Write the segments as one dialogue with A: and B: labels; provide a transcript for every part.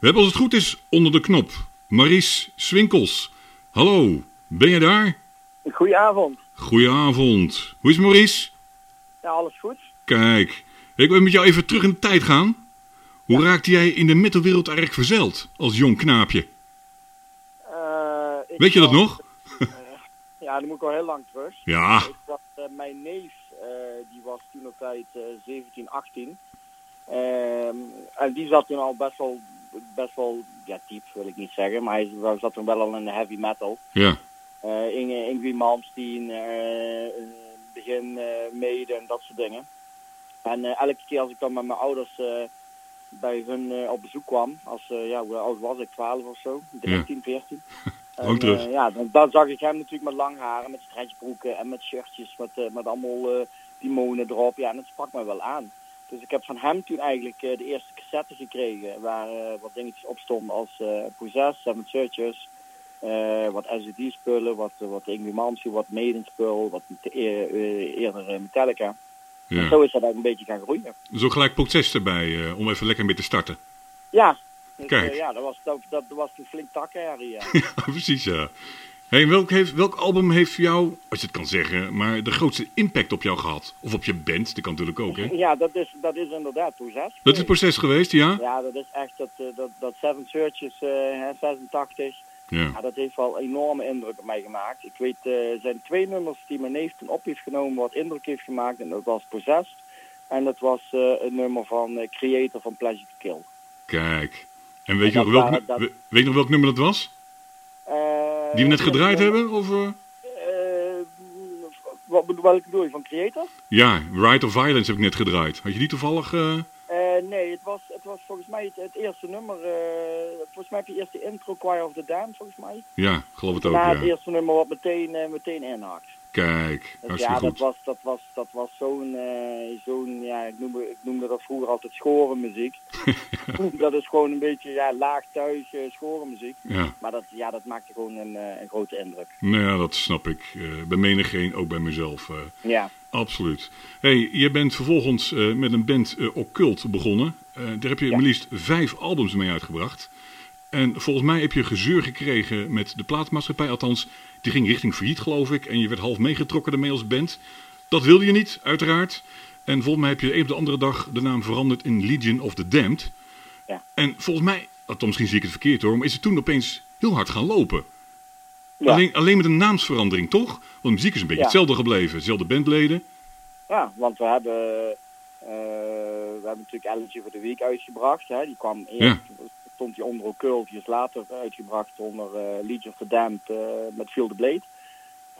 A: We hebben als het goed is onder de knop Maries Swinkels. Hallo, ben je daar?
B: Goedenavond.
A: Goedenavond. Hoe is het, Maurice?
B: Ja, alles goed?
A: Kijk, ik wil met jou even terug in de tijd gaan. Hoe raakte jij in de metalwereld eigenlijk verzeild als jong knaapje?
B: Eh, ik
A: Weet je dat
B: was-
A: nog?
B: Ja, dan moet ik al heel lang terug.
A: Ja,
B: Ik was, eh, mijn neef, eh, die was toen op tijd eh, 17, 18. Ehm, en die zat toen al best wel, best wel, ja diep wil ik niet zeggen, maar hij was- zat toen wel al in de heavy metal.
A: ja,
B: Eh Inge, Ingrid Malmsteen, eh, eh, begin eh mede en dat soort dingen. En eh, elke keer als ik dan met mijn ouders eh, bij hun eh, op bezoek kwam, als, eh, ja, hoe oud was ik, 12 of zo, 13, 14. En,
A: Lang terug.
B: eh, ja, dan, dan zag ik hem natuurlijk met lang haren, met stretchbroeken en met shirtjes, met, eh, met allemaal eh, timonen erop. Ja, en dat sprak mij wel aan. Dus ik heb van hem toen eigenlijk eh, de eerste cassette gekregen, waar eh, wat dingetjes op stonden als eh Possess, Seven Searchers, eh, wat SED-spullen, wat, eh, wat Ingrid Malmsteen, wat Maiden-spul, wat eh, eh, eerder eh, Metallica. En
A: ja.
B: zo is dat eigenlijk een beetje gaan groeien.
A: Zo gelijk proces erbij eh, om even lekker mee te starten.
B: Ja, dus,
A: Kijk.
B: eh, ja dat, was, dat, dat was een flink takkenherrie. Ja.
A: Ja, precies, ja. Hey, welk, heeft, welk album heeft jou, als je het kan zeggen, maar de grootste impact op jou gehad? Of op je band, dat kan natuurlijk ook, hè?
B: ja, dat is, dat is inderdaad Possess.
A: Dat is het proces geweest, ja?
B: Ja, dat is echt dat, eh, dat, dat Seven Searches eh, hè, 86. Ja,
A: Ja.
B: dat heeft wel een enorme indruk op mij gemaakt. Ik weet, eh, er zijn twee nummers die mijn neef toen op heeft genomen wat indruk heeft gemaakt. En dat was Possessed. En dat was eh het nummer van eh, Creator van Pleasure to Kill.
A: Kijk. En weet je,
B: En
A: nog
B: dat
A: welk,
B: waren
A: nu-
B: dat-
A: we- weet je nog welk nummer dat was?
B: Eh,
A: Die we net gedraaid
B: eh,
A: hebben? Of, eh?
B: eh, wat bedoel, welke bedoel je, van Creator?
A: Ja, Ride of Violence heb ik net gedraaid. Had je die toevallig... eh,
B: Eh, nee, het was, het was volgens mij het, het eerste nummer. eh, volgens mij heb je eerst de intro Choir of the Dam, volgens mij.
A: Ja, geloof het ook,
B: Na het
A: ja.
B: eerste nummer wat meteen, eh, meteen inhaakt.
A: Kijk,
B: Dus
A: hartstikke
B: ja, dat
A: goed.
B: was, dat was, dat was zo'n, eh, zo'n ja, ik, noemde, ik noemde dat vroeger altijd schorenmuziek. dat is gewoon een beetje ja, laag thuis eh, schorenmuziek.
A: Ja,
B: Maar dat, ja, dat maakte gewoon een, eh, een grote indruk.
A: nou ja, dat snap ik. Eh, bij menigeen, ook bij mezelf. eh,
B: Ja,
A: Absoluut. hey, je bent vervolgens eh, met een band eh, Occult begonnen. Eh, daar heb je
B: Ja.
A: maar liefst vijf albums mee uitgebracht. En volgens mij heb je gezeur gekregen met de platenmaatschappij. Althans, die ging richting failliet, geloof ik. En je werd half meegetrokken ermee als band. Dat wilde je niet, uiteraard. En volgens mij heb je de een op de andere dag de naam veranderd in Legion of the Damned.
B: Ja.
A: En volgens mij, althans misschien zie ik het verkeerd hoor, maar is het toen opeens heel hard gaan lopen.
B: ja,
A: Alleen, alleen met een naamsverandering, toch? Want de muziek is een beetje
B: Ja.
A: hetzelfde gebleven. Hetzelfde bandleden.
B: ja want we hebben, eh, we hebben natuurlijk Elletje voor de Week uitgebracht. Hè. Die kwam eerst, stond die onder Occult, die is later uitgebracht onder eh Legion of the Damned eh, met Feel the Blade.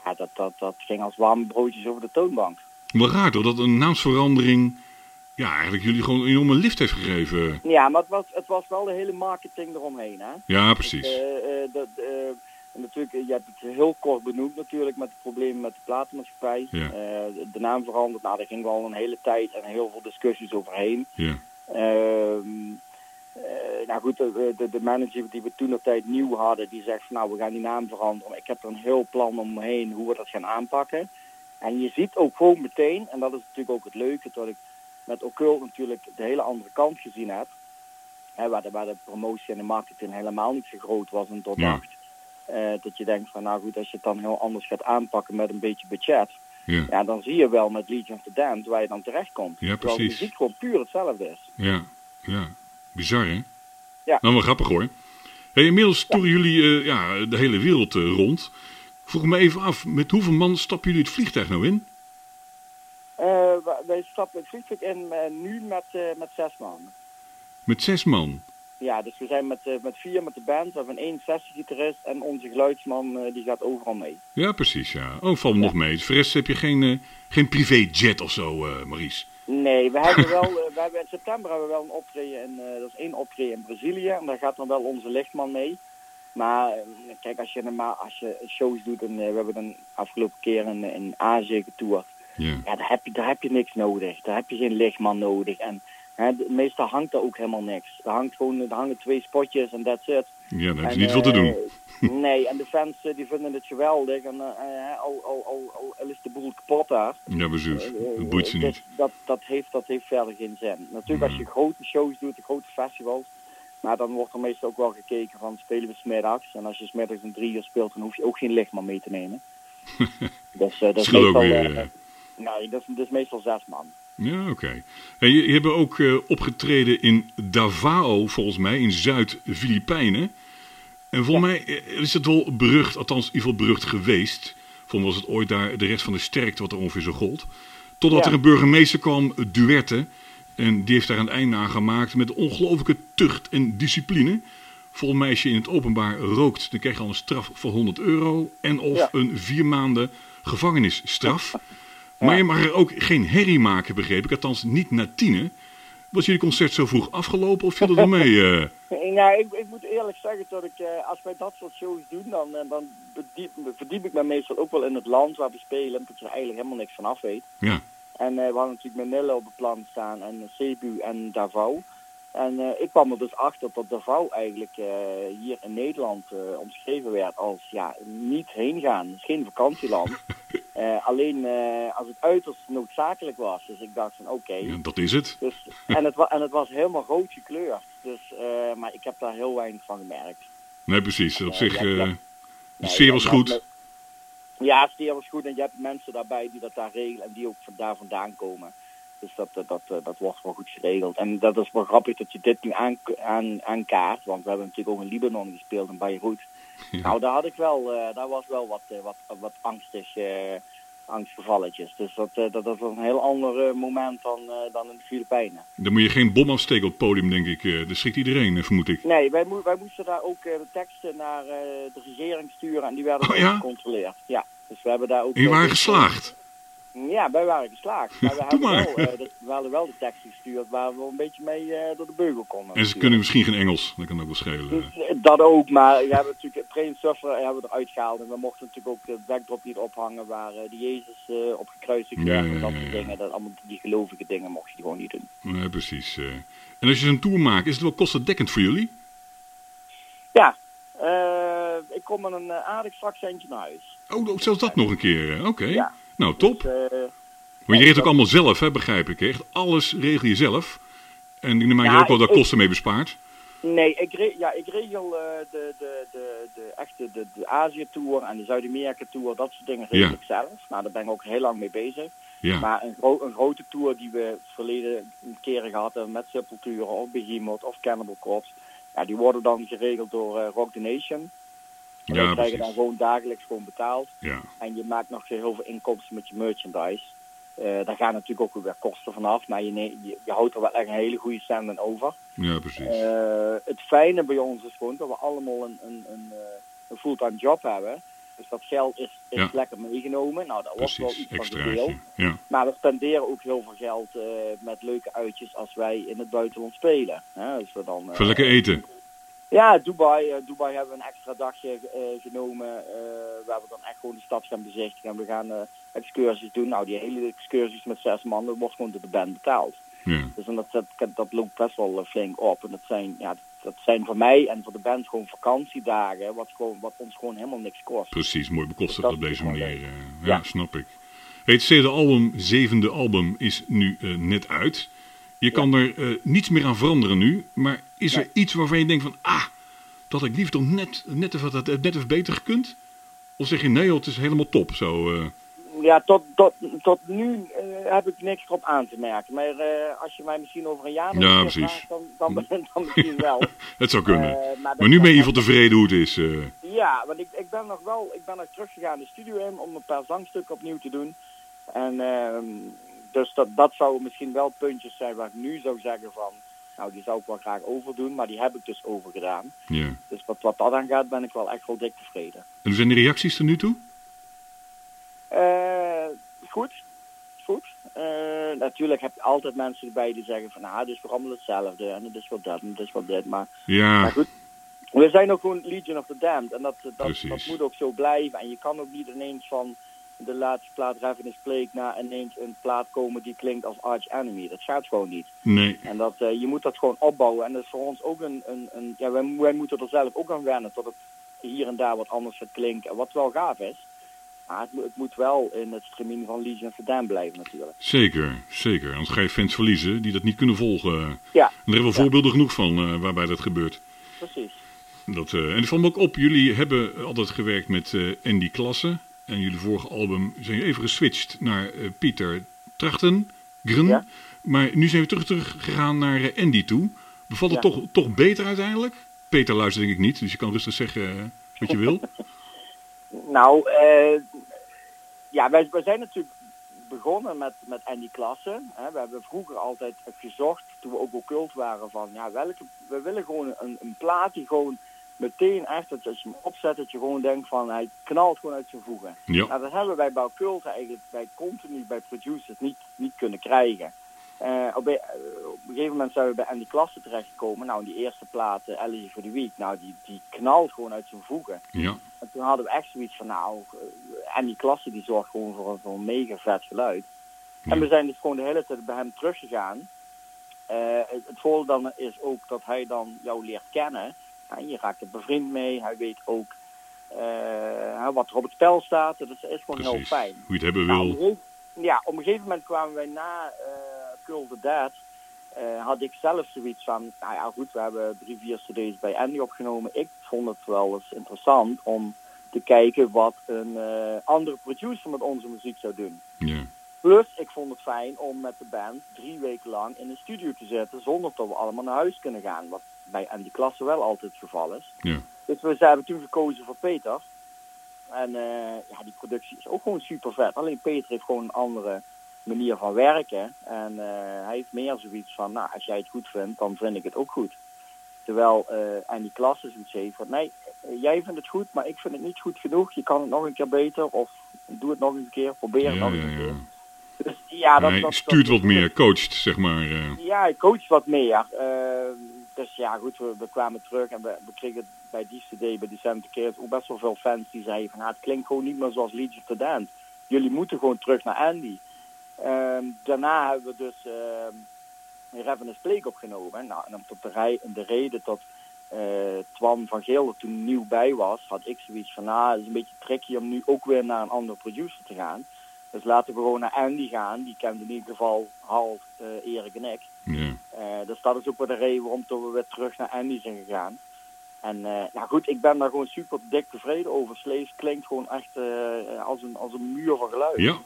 B: Ja, dat, dat, dat ging als warme broodjes over de toonbank.
A: Wel raar toch, dat een naamsverandering ja, eigenlijk jullie gewoon een enorme lift heeft gegeven.
B: Ja, maar het was, het was wel de hele marketing eromheen, hè?
A: Ja, precies.
B: Eh, eh, dat, eh, en natuurlijk, eh, je hebt het heel kort benoemd natuurlijk met de problemen met de platenmaatschappij.
A: Ja.
B: Eh, de naam veranderd, nou daar ging wel een hele tijd en heel veel discussies overheen.
A: Ja,
B: Ehm, eh, nou goed, de, de, de manager die we toen op tijd nieuw hadden, die zegt van nou we gaan die naam veranderen. Ik heb er een heel plan omheen hoe we dat gaan aanpakken. En je ziet ook gewoon meteen, en dat is natuurlijk ook het leuke, dat ik met Occult natuurlijk de hele andere kant gezien heb. Hè, waar, de, waar de promotie en de marketing helemaal niet zo groot was en tot
A: Ja.
B: dacht. Eh, dat je denkt van nou goed, als je het dan heel anders gaat aanpakken met een beetje budget,
A: ja,
B: ja, dan zie je wel met Legion of the Damned waar je dan terechtkomt.
A: Ja,
B: Terwijl de
A: precies.
B: muziek gewoon puur hetzelfde is.
A: ja, ja. Bizar, hè?
B: Ja.
A: Nou, wel grappig hoor. Hey, inmiddels toeren jullie eh, ja, de hele wereld eh, rond. Ik Vroeg me even af, met hoeveel man stappen jullie het vliegtuig nou in?
B: Eh, wa- wij stappen het vliegtuig in eh, nu met, eh, met zes man.
A: Met zes man.
B: Ja, dus we zijn met, eh, met vier met de band. We hebben één sessiegitarist en onze geluidsman eh, die gaat overal mee.
A: Ja, precies, ja. Oh, valt me nog mee. Voor de rest heb je geen, eh, geen privéjet of zo, eh Maries.
B: Nee, we hebben wel, eh, we hebben in september hebben we wel een optreden in, eh, dat is één optreden in Brazilië. En daar gaat dan wel onze lichtman mee. Maar eh, kijk, als je, normaal, als je shows doet, en eh, we hebben een afgelopen keer een, een Azië getoerd.
A: Ja,
B: Ja, daar heb, je, daar heb je niks nodig. Daar heb je geen lichtman nodig. En hè, de- meestal hangt daar ook helemaal niks. Er, hangt gewoon, er hangen twee spotjes en that's it.
A: ja daar heb
B: En,
A: je niet veel te
B: eh,
A: doen.
B: Nee, en de fans eh, die vinden het geweldig. En, eh, eh, al, al, al, al, al is de boel kapot daar.
A: Ja, precies.
B: eh,
A: Het boeit ze
B: dat-
A: niet. Hmm.
B: Dat, dat, heeft, dat heeft verder geen zin. Natuurlijk als je grote shows doet, de grote festivals. Maar dan wordt er meestal ook wel gekeken van spelen we smiddags. En als je smiddags een drie uur speelt, dan hoef je ook geen lichtman mee te nemen. dus eh, dat is
A: Scheelt ook
B: meestal...
A: weer,
B: eh,
A: eh.
B: nee, dat is, dat is meestal zes man.
A: Ja, oké. En je, je hebt ook eh, opgetreden in Davao, volgens mij, in Zuid-Filipijnen. En volgens mij eh, is het wel berucht, althans in ieder geval berucht geweest. Volgens mij was het ooit daar de recht van de sterkte, wat er ongeveer zo gold. Totdat
B: Ja.
A: er een burgemeester kwam, eh, Duerte. En die heeft daar een einde aan gemaakt met ongelooflijke tucht en discipline. Volgens mij als je in het openbaar rookt, dan krijg je al een straf van 100 euro. En of
B: Ja.
A: een vier maanden gevangenisstraf. Maar je mag er ook geen herrie maken, begreep ik. Althans, niet na tienen. Was jullie concert zo vroeg afgelopen of viel dat wel mee? eh?
B: Nou, ik, ik moet eerlijk zeggen dat ik, eh, als wij dat soort shows doen, dan, eh, dan bediep, verdiep ik me meestal ook wel in het land waar we spelen, dat je er eigenlijk helemaal niks van af weet.
A: Ja.
B: En eh, we hadden natuurlijk Manila op het plan staan en eh, Cebu en Davao. En eh, ik kwam er dus achter dat Davao eigenlijk eh, hier in Nederland eh, omschreven werd als ja, niet heen gaan. Het is geen vakantieland. Eh, alleen eh, als het uiterst noodzakelijk was. Dus ik dacht van oké.
A: ja, dat is het.
B: Dus, en, het wa- en het was helemaal rood gekleurd. Dus, eh, maar ik heb daar heel weinig van gemerkt.
A: Nee, precies. Op
B: Ja,
A: zich,
B: ja, ja.
A: eh, de
B: Nee,
A: sfeer was
B: en je hebt
A: goed.
B: me- Ja, de sfeer was goed. En je hebt mensen daarbij die dat daar regelen en die ook van daar vandaan komen. Dus dat, eh, dat, eh, dat wordt wel goed geregeld. En dat is wel grappig dat je dit nu aan, aan, aankaart. Want we hebben natuurlijk ook in Libanon gespeeld en Beirut.
A: Ja.
B: Nou, daar had ik wel, eh, daar was wel wat, eh, wat, wat angstig, eh, angstgevalletjes. Dus dat, eh, dat, dat was een heel ander eh, moment dan, eh, dan in de Filipijnen.
A: Dan moet je geen bom afsteken op het podium, denk ik. eh. Daar schrikt iedereen, eh, vermoed ik.
B: Nee, wij, moe- wij moesten daar ook eh, de teksten naar eh, de regering sturen en die werden
A: Oh,
B: ook
A: ja?
B: gecontroleerd. Ja, dus we hebben daar ook...
A: En je
B: eh,
A: waren
B: dus-
A: geslaagd.
B: Ja, wij waren geslaagd. Maar we,
A: Doe
B: hebben
A: maar.
B: Wel, eh, de- we hadden wel de teksten gestuurd waar we een beetje mee eh, door de beugel konden.
A: En ze kunnen misschien geen Engels. Dat kan ook wel schelen. eh.
B: Dus, eh, dat ook, maar we hebben natuurlijk Train Surfer eh, hebben we eruit gehaald. En we mochten natuurlijk ook de backdrop niet ophangen waar eh, de Jezus eh, op gekruisigd
A: Ja,
B: werd.
A: ja,
B: en dat
A: ja,
B: soort
A: ja.
B: dingen. Dat, allemaal die gelovige dingen mocht je gewoon niet doen.
A: Nee, precies. eh. En als je zo'n tour maakt, is het wel kostendekkend voor jullie?
B: Ja, eh, ik kom met een eh, aardig straks eentje naar huis.
A: Oh, oh, zelfs dat nog een keer. eh. Oké.
B: Ja.
A: Nou, top.
B: Dus, eh,
A: Maar je
B: Ja,
A: regelt ook
B: dat-
A: allemaal zelf, hè, begrijp ik. hè? Echt alles regel je zelf. En dan maak je
B: Ja,
A: ook wel dat
B: ik-
A: kosten mee bespaart.
B: Nee, ik, re- ja, ik regel eh, de, de, de, de echte de, de Azië-tour en de Zuid-Amerika-tour, dat soort dingen regel
A: Ja.
B: ik zelf. Nou, daar ben ik ook heel lang mee bezig.
A: Ja.
B: Maar een, gro- een grote tour die we verleden keren gehad hebben met Sepultura of Behemoth of Cannibal Corpse, ja, die worden dan geregeld door eh, Rock the Nation. En
A: Ja,
B: wij krijgen
A: precies.
B: dan gewoon dagelijks gewoon betaald.
A: Ja.
B: En je maakt nog heel veel inkomsten met je merchandise. Eh, daar gaan natuurlijk ook weer kosten vanaf, maar je, ne- je, je houdt er wel echt een hele goede cent aan over.
A: Ja, precies.
B: Eh, het fijne bij ons is gewoon dat we allemaal een, een, een, eh, een fulltime job hebben. Dus dat geld is, is
A: Ja.
B: lekker meegenomen. Nou, dat wordt wel
A: precies.
B: iets van
A: Extra.
B: gedeel.
A: Ja.
B: Maar we spenderen ook heel veel geld eh, met leuke uitjes als wij in het buitenland spelen. Hè, dus we dan, eh,
A: Voor lekker eten.
B: ja, Dubai. eh, Dubai hebben we een extra dagje eh, genomen. eh, waar we dan echt gewoon de stad gaan bezichtigen. En we gaan eh, excursies doen. Nou, die hele excursies met zes man, dat wordt gewoon door de band betaald.
A: Ja.
B: Dus en dat, dat, dat loopt best wel eh, flink op. En dat zijn, ja, dat zijn voor mij en voor de band gewoon vakantiedagen, wat, gewoon, wat ons gewoon helemaal niks kost.
A: Precies. Mooi bekostigd
B: Dat
A: op deze
B: is wel
A: manier.
B: leuk.
A: eh. ja,
B: Ja.
A: snap ik. Hey, Het zevende album, zevende album is nu eh, net uit. Je kan er eh, niets meer aan veranderen nu. Maar is er iets waarvan je denkt van... Ah, dat had ik liever toch net, net, even, dat- net even beter gekund? Of zeg je nee, joh, het is helemaal top. Zo, eh.
B: Ja, tot, tot, tot nu eh, heb ik niks op aan te merken. Maar eh, als je mij misschien over een jaar nog
A: Ja,
B: een keer
A: precies.
B: vraagt, dan, dan, dan, misschien wel.
A: het zou kunnen.
B: Eh, maar dat-
A: maar nu ben je in
B: dat-
A: ieder geval tevreden hoe het is. eh.
B: Ja, want ik, ik ben nog wel, ik ben nog teruggegaan de studio in om een paar zangstukken opnieuw te doen. En ehm, dus dat, dat zou misschien wel puntjes zijn waar ik nu zou zeggen van, nou die zou ik wel graag overdoen, maar die heb ik dus overgedaan.
A: ja.
B: Dus wat, wat dat aangaat ben ik wel echt wel dik tevreden.
A: En hoe zijn de reacties er nu toe?
B: Eh, goed. Goed. Eh, natuurlijk heb je altijd mensen erbij die zeggen van... Ah, het is weer allemaal hetzelfde. En het is wel dat en het is wel dit. Maar, maar
A: Ja,
B: goed. We zijn ook gewoon Legion of the Damned. En dat, dat,
A: Precies.
B: dat moet ook zo blijven. En je kan ook niet ineens van de laatste plaat Ravenous Plague... naar ineens een plaat komen die klinkt als Arch Enemy. Dat gaat gewoon niet.
A: nee.
B: En dat, eh, je moet dat gewoon opbouwen. En dat is voor ons ook een... een, een ja, wij, wij moeten er zelf ook aan wennen. Tot het hier en daar wat anders gaat klinken. Wat wel gaaf is. Maar het, moet- het moet wel in het stramien van Lies en Verdaan blijven natuurlijk.
A: Zeker, zeker. Anders ga je fans verliezen die dat niet kunnen volgen. En
B: Ja,
A: daar hebben we
B: Ja.
A: voorbeelden genoeg van eh, waarbij dat gebeurt.
B: precies.
A: Dat, eh, en het valt me ook op, jullie hebben altijd gewerkt met eh Andy Klassen. En jullie vorige album zijn jullie even geswitcht naar eh, Pieter Trachten, Grun.
B: Ja.
A: Maar nu zijn we terug, terug gegaan naar eh, Andy toe. Bevalt het
B: Ja.
A: toch, toch beter uiteindelijk? Peter luistert denk ik niet, dus je kan rustig zeggen eh, wat je wil.
B: Nou, eh, ja, wij, wij zijn natuurlijk begonnen met, met Andy Klassen. Hè. We hebben vroeger altijd gezocht, toen we ook occult waren, van ja, welke, we willen gewoon een, een plaat die gewoon meteen echt, dat als je hem opzet, dat je gewoon denkt van hij knalt gewoon uit zijn voegen.
A: Ja,
B: Nou, dat hebben wij bij Occulta eigenlijk bij continu, bij producers niet, niet kunnen krijgen. Eh, op, een, eh, op een gegeven moment zijn we bij Andy Klassen terechtgekomen. Nou, die eerste plaat, eh, Allergy for the Week, nou, die, die knalt gewoon uit zijn voegen.
A: ja,
B: En toen hadden we echt zoiets van, nou, eh, en die klasse die zorgt gewoon voor een, voor een mega vet geluid.
A: Ja.
B: En we zijn dus gewoon de hele tijd bij hem teruggegaan. Eh, het, het voordeel dan is ook dat hij dan jou leert kennen. En je raakt er bevriend mee. Hij weet ook eh, wat er op het spel staat. Dus dat is gewoon heel
A: precies.
B: fijn.
A: Hoe je het hebben
B: Nou, op een
A: wil.
B: gege- ja, op een gegeven moment kwamen wij na eh Curl the Dead. eh, had ik zelf zoiets van, nou ja goed, we hebben drie, vier cd's bij Andy opgenomen. Ik vond het wel eens interessant om te kijken wat een eh, andere producer met onze muziek zou doen.
A: Ja,
B: Plus, ik vond het fijn om met de band drie weken lang in een studio te zitten zonder dat we allemaal naar huis kunnen gaan. Wat bij Andy Klasse wel altijd het geval is.
A: ja.
B: Dus we zijn- hebben toen gekozen voor Peter. En eh, ja, die productie is ook gewoon super vet. Alleen Peter heeft gewoon een andere manier van werken. En eh, hij heeft meer zoiets van, nou, als jij het goed vindt, dan vind ik het ook goed. Terwijl eh aan die klasse zoiets heeft van, nee, eh, jij vindt het goed, maar ik vind het niet goed genoeg. Je kan het nog een keer beter of doe het nog een keer, probeer
A: ja,
B: het nog
A: ja,
B: een keer.
A: ja.
B: Dus ja, dat,
A: Hij
B: dat-
A: stuurt
B: dat-
A: wat meer, coacht, zeg maar. eh.
B: ja, ik coach wat meer. Eh, dus ja, goed, we, we kwamen terug en we, we kregen bij die CD, bij die Santa Keert, ook best wel veel fans die zeiden van, ah, het klinkt gewoon niet meer zoals Legion of the Damned. Jullie moeten gewoon terug naar Andy. Ehm, daarna hebben we dus ehm Ravenous Plague opgenomen. Nou, en om tot de, rij, de reden dat eh Twan van Geel er toen nieuw bij was, had ik zoiets van, ah, het is een beetje tricky om nu ook weer naar een andere producer te gaan. Dus laten we gewoon naar Andy gaan. Die kent in ieder geval half eh, Erik en ik.
A: ja.
B: Eh, dus dat is ook wel de reden waarom toen we weer terug naar Andy zijn gegaan. En eh, nou goed, ik ben daar gewoon super dik tevreden over. Slees klinkt gewoon echt eh, als, een, als een muur van geluid.
A: Ja,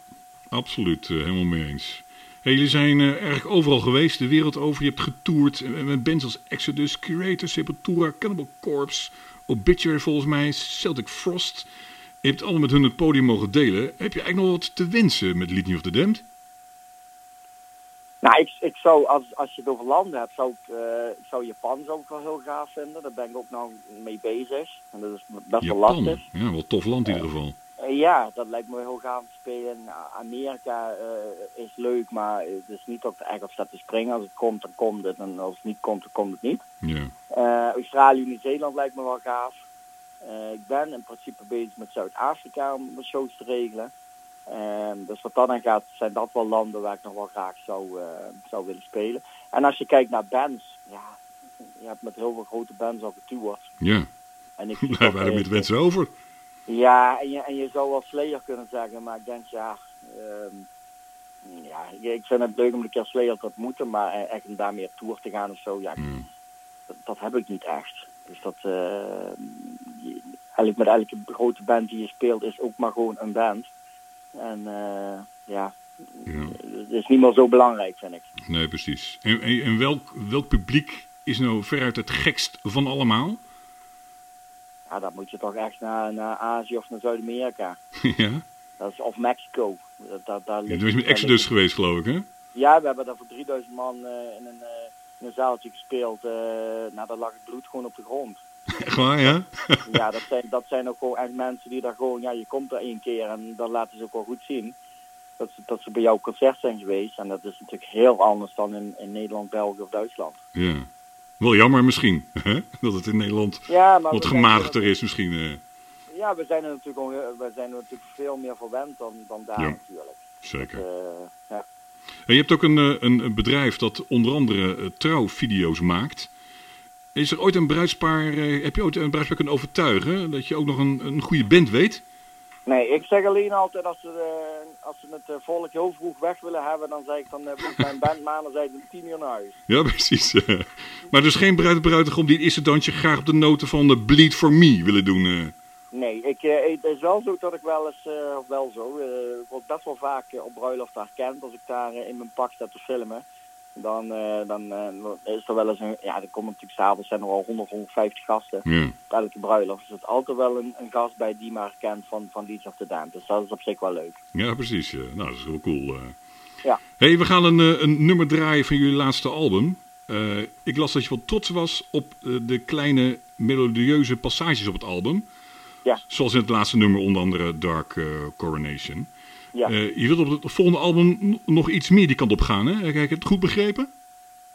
A: absoluut. eh, helemaal mee eens. Hey, jullie zijn eh, eigenlijk overal geweest, de wereld over. Je hebt getoerd eh, met bands als Exodus, Curator, Sepultura, Cannibal Corpse, Obituary volgens mij, Celtic Frost. Je hebt allemaal met hun het podium mogen delen. Heb je eigenlijk nog wat te wensen met Litany of the Damned?
B: Nou, ik, ik zou, als, als je het over landen hebt, zou ik, eh, ik zou Japan zou ik wel heel gaaf vinden. Daar ben ik ook nou mee bezig. En dat is best wel
A: Japan.
B: lastig.
A: Ja, wel tof land in ieder geval.
B: Eh, ja, dat lijkt me heel gaaf om te spelen. Nou, Amerika eh, is leuk, maar het is niet dat ik echt op staat te springen. Als het komt, dan komt het. En als het niet komt, dan komt het niet.
A: Ja,
B: Eh, Australië, Nieuw-Zeeland lijkt me wel gaaf. Eh, ik ben in principe bezig met Zuid-Afrika om mijn shows te regelen. Ehm, dus wat dat dan gaat, zijn dat wel landen waar ik nog wel graag zou, eh, zou willen spelen. En als je kijkt naar bands, ja, je hebt met heel veel grote bands al getoerd.
A: ja.
B: En ik zie
A: Blijf
B: dat
A: waren met
B: eigenlijk-
A: de wensen over.
B: ja, en je, en je zou wel Slayer kunnen zeggen, maar ik denk ja, ehm, ja ik- ik vind het leuk om een keer Slayer te ontmoeten, maar eh, echt om daarmee op tour te gaan of zo, ja,
A: Ja.
B: dat, dat heb ik niet echt. Dus dat, eh, je- eigenlijk met elke grote band die je speelt is ook maar gewoon een band. En eh, ja,
A: Ja.
B: het is niet meer zo belangrijk, vind ik.
A: Nee, precies. En, en, en welk, welk publiek is nou veruit het gekst van allemaal?
B: Ja, dan moet je toch echt naar, naar Azië of naar Zuid-Amerika.
A: ja.
B: Dat is, of Mexico. Dat, dat, daar
A: Je
B: ligt-
A: bent met
B: daar ligt-
A: Exodus geweest, geloof ik, hè?
B: Ja, we hebben daar voor 3000 man eh, in, een, eh, in een zaaltje gespeeld. eh nou, daar lag het bloed gewoon op de grond.
A: Echt waar, ja?
B: ja, dat zijn, dat zijn ook gewoon echt mensen die daar gewoon... Ja, je komt daar één keer en dan laten ze ook wel goed zien. Dat ze, dat ze bij jouw concert zijn geweest. En dat is natuurlijk heel anders dan in, in Nederland, België of Duitsland.
A: Ja. Wel jammer misschien, hè? Dat het in Nederland
B: Ja, maar
A: wat
B: we zijn er
A: gematigder
B: natuurlijk-
A: is misschien. eh,
B: Ja, we zijn er natuurlijk, gewoon heel- we zijn er natuurlijk veel meer verwend dan, dan daar
A: Ja.
B: natuurlijk.
A: zeker.
B: Eh, ja.
A: En je hebt ook een, eh, een een bedrijf dat onder andere eh, trouwvideo's maakt. Is er ooit een bruidspaar, eh, heb je ooit een bruidspaar kunnen overtuigen dat je ook nog een, een goede band weet?
B: Nee, ik zeg alleen altijd als ze, eh, als ze het eh, volk heel vroeg weg willen hebben, dan zeg ik dan eh, boek mijn band maar, dan zijn ze om tien uur naar huis.
A: Ja, precies. eh. Maar dus geen bruid bruidegom die het eerste dansje graag op de noten van de Bleed For Me willen doen. eh.
B: Nee, ik, eh, het is wel zo dat ik wel eens, eh, of wel zo, eh, ik word best wel vaak eh, op bruiloft herkend als ik daar eh, in mijn pak sta te filmen. Dan, eh, dan eh, is er wel eens een, ja, er komen natuurlijk s'avonds zijn er al 100, 150 gasten.
A: Ja.
B: Op elke bruiloft Dus is het altijd wel een, een gast bij die maar herkent van, van Leeds of the Dam. Dus dat is op zich wel leuk.
A: ja, precies. eh. Nou, dat is wel cool. eh.
B: Ja.
A: hey, we gaan een, eh, een nummer draaien van jullie laatste album. Eh, ik las dat je wel trots was op eh, de kleine melodieuze passages op het album.
B: Ja.
A: Zoals in het laatste nummer, onder andere Dark eh, Coronation.
B: Ja.
A: Eh, je wilt op het volgende album n- nog iets meer die kant op gaan, hè? Heb ik het goed begrepen?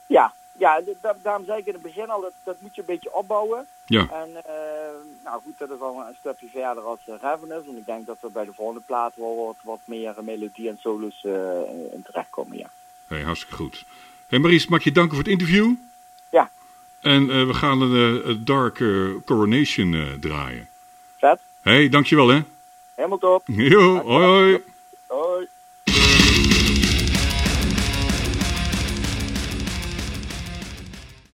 B: Ja, ja d- da- daarom zei ik in het begin al, dat, dat moet je een beetje opbouwen.
A: Ja.
B: En eh, nou goed, dat is al een stapje verder als eh, Ravenous. En ik denk dat we bij de volgende plaat wel wat, wat meer eh, melodie en solos eh, in terechtkomen, ja.
A: Hey, hartstikke goed. Hey Maries, mag ik je danken voor het interview.
B: Ja.
A: En eh, we gaan een eh, Dark eh, Coronation eh, draaien.
B: Vet,
A: Hey, dankjewel hè.
B: helemaal top.
A: Jo, hoi hoi.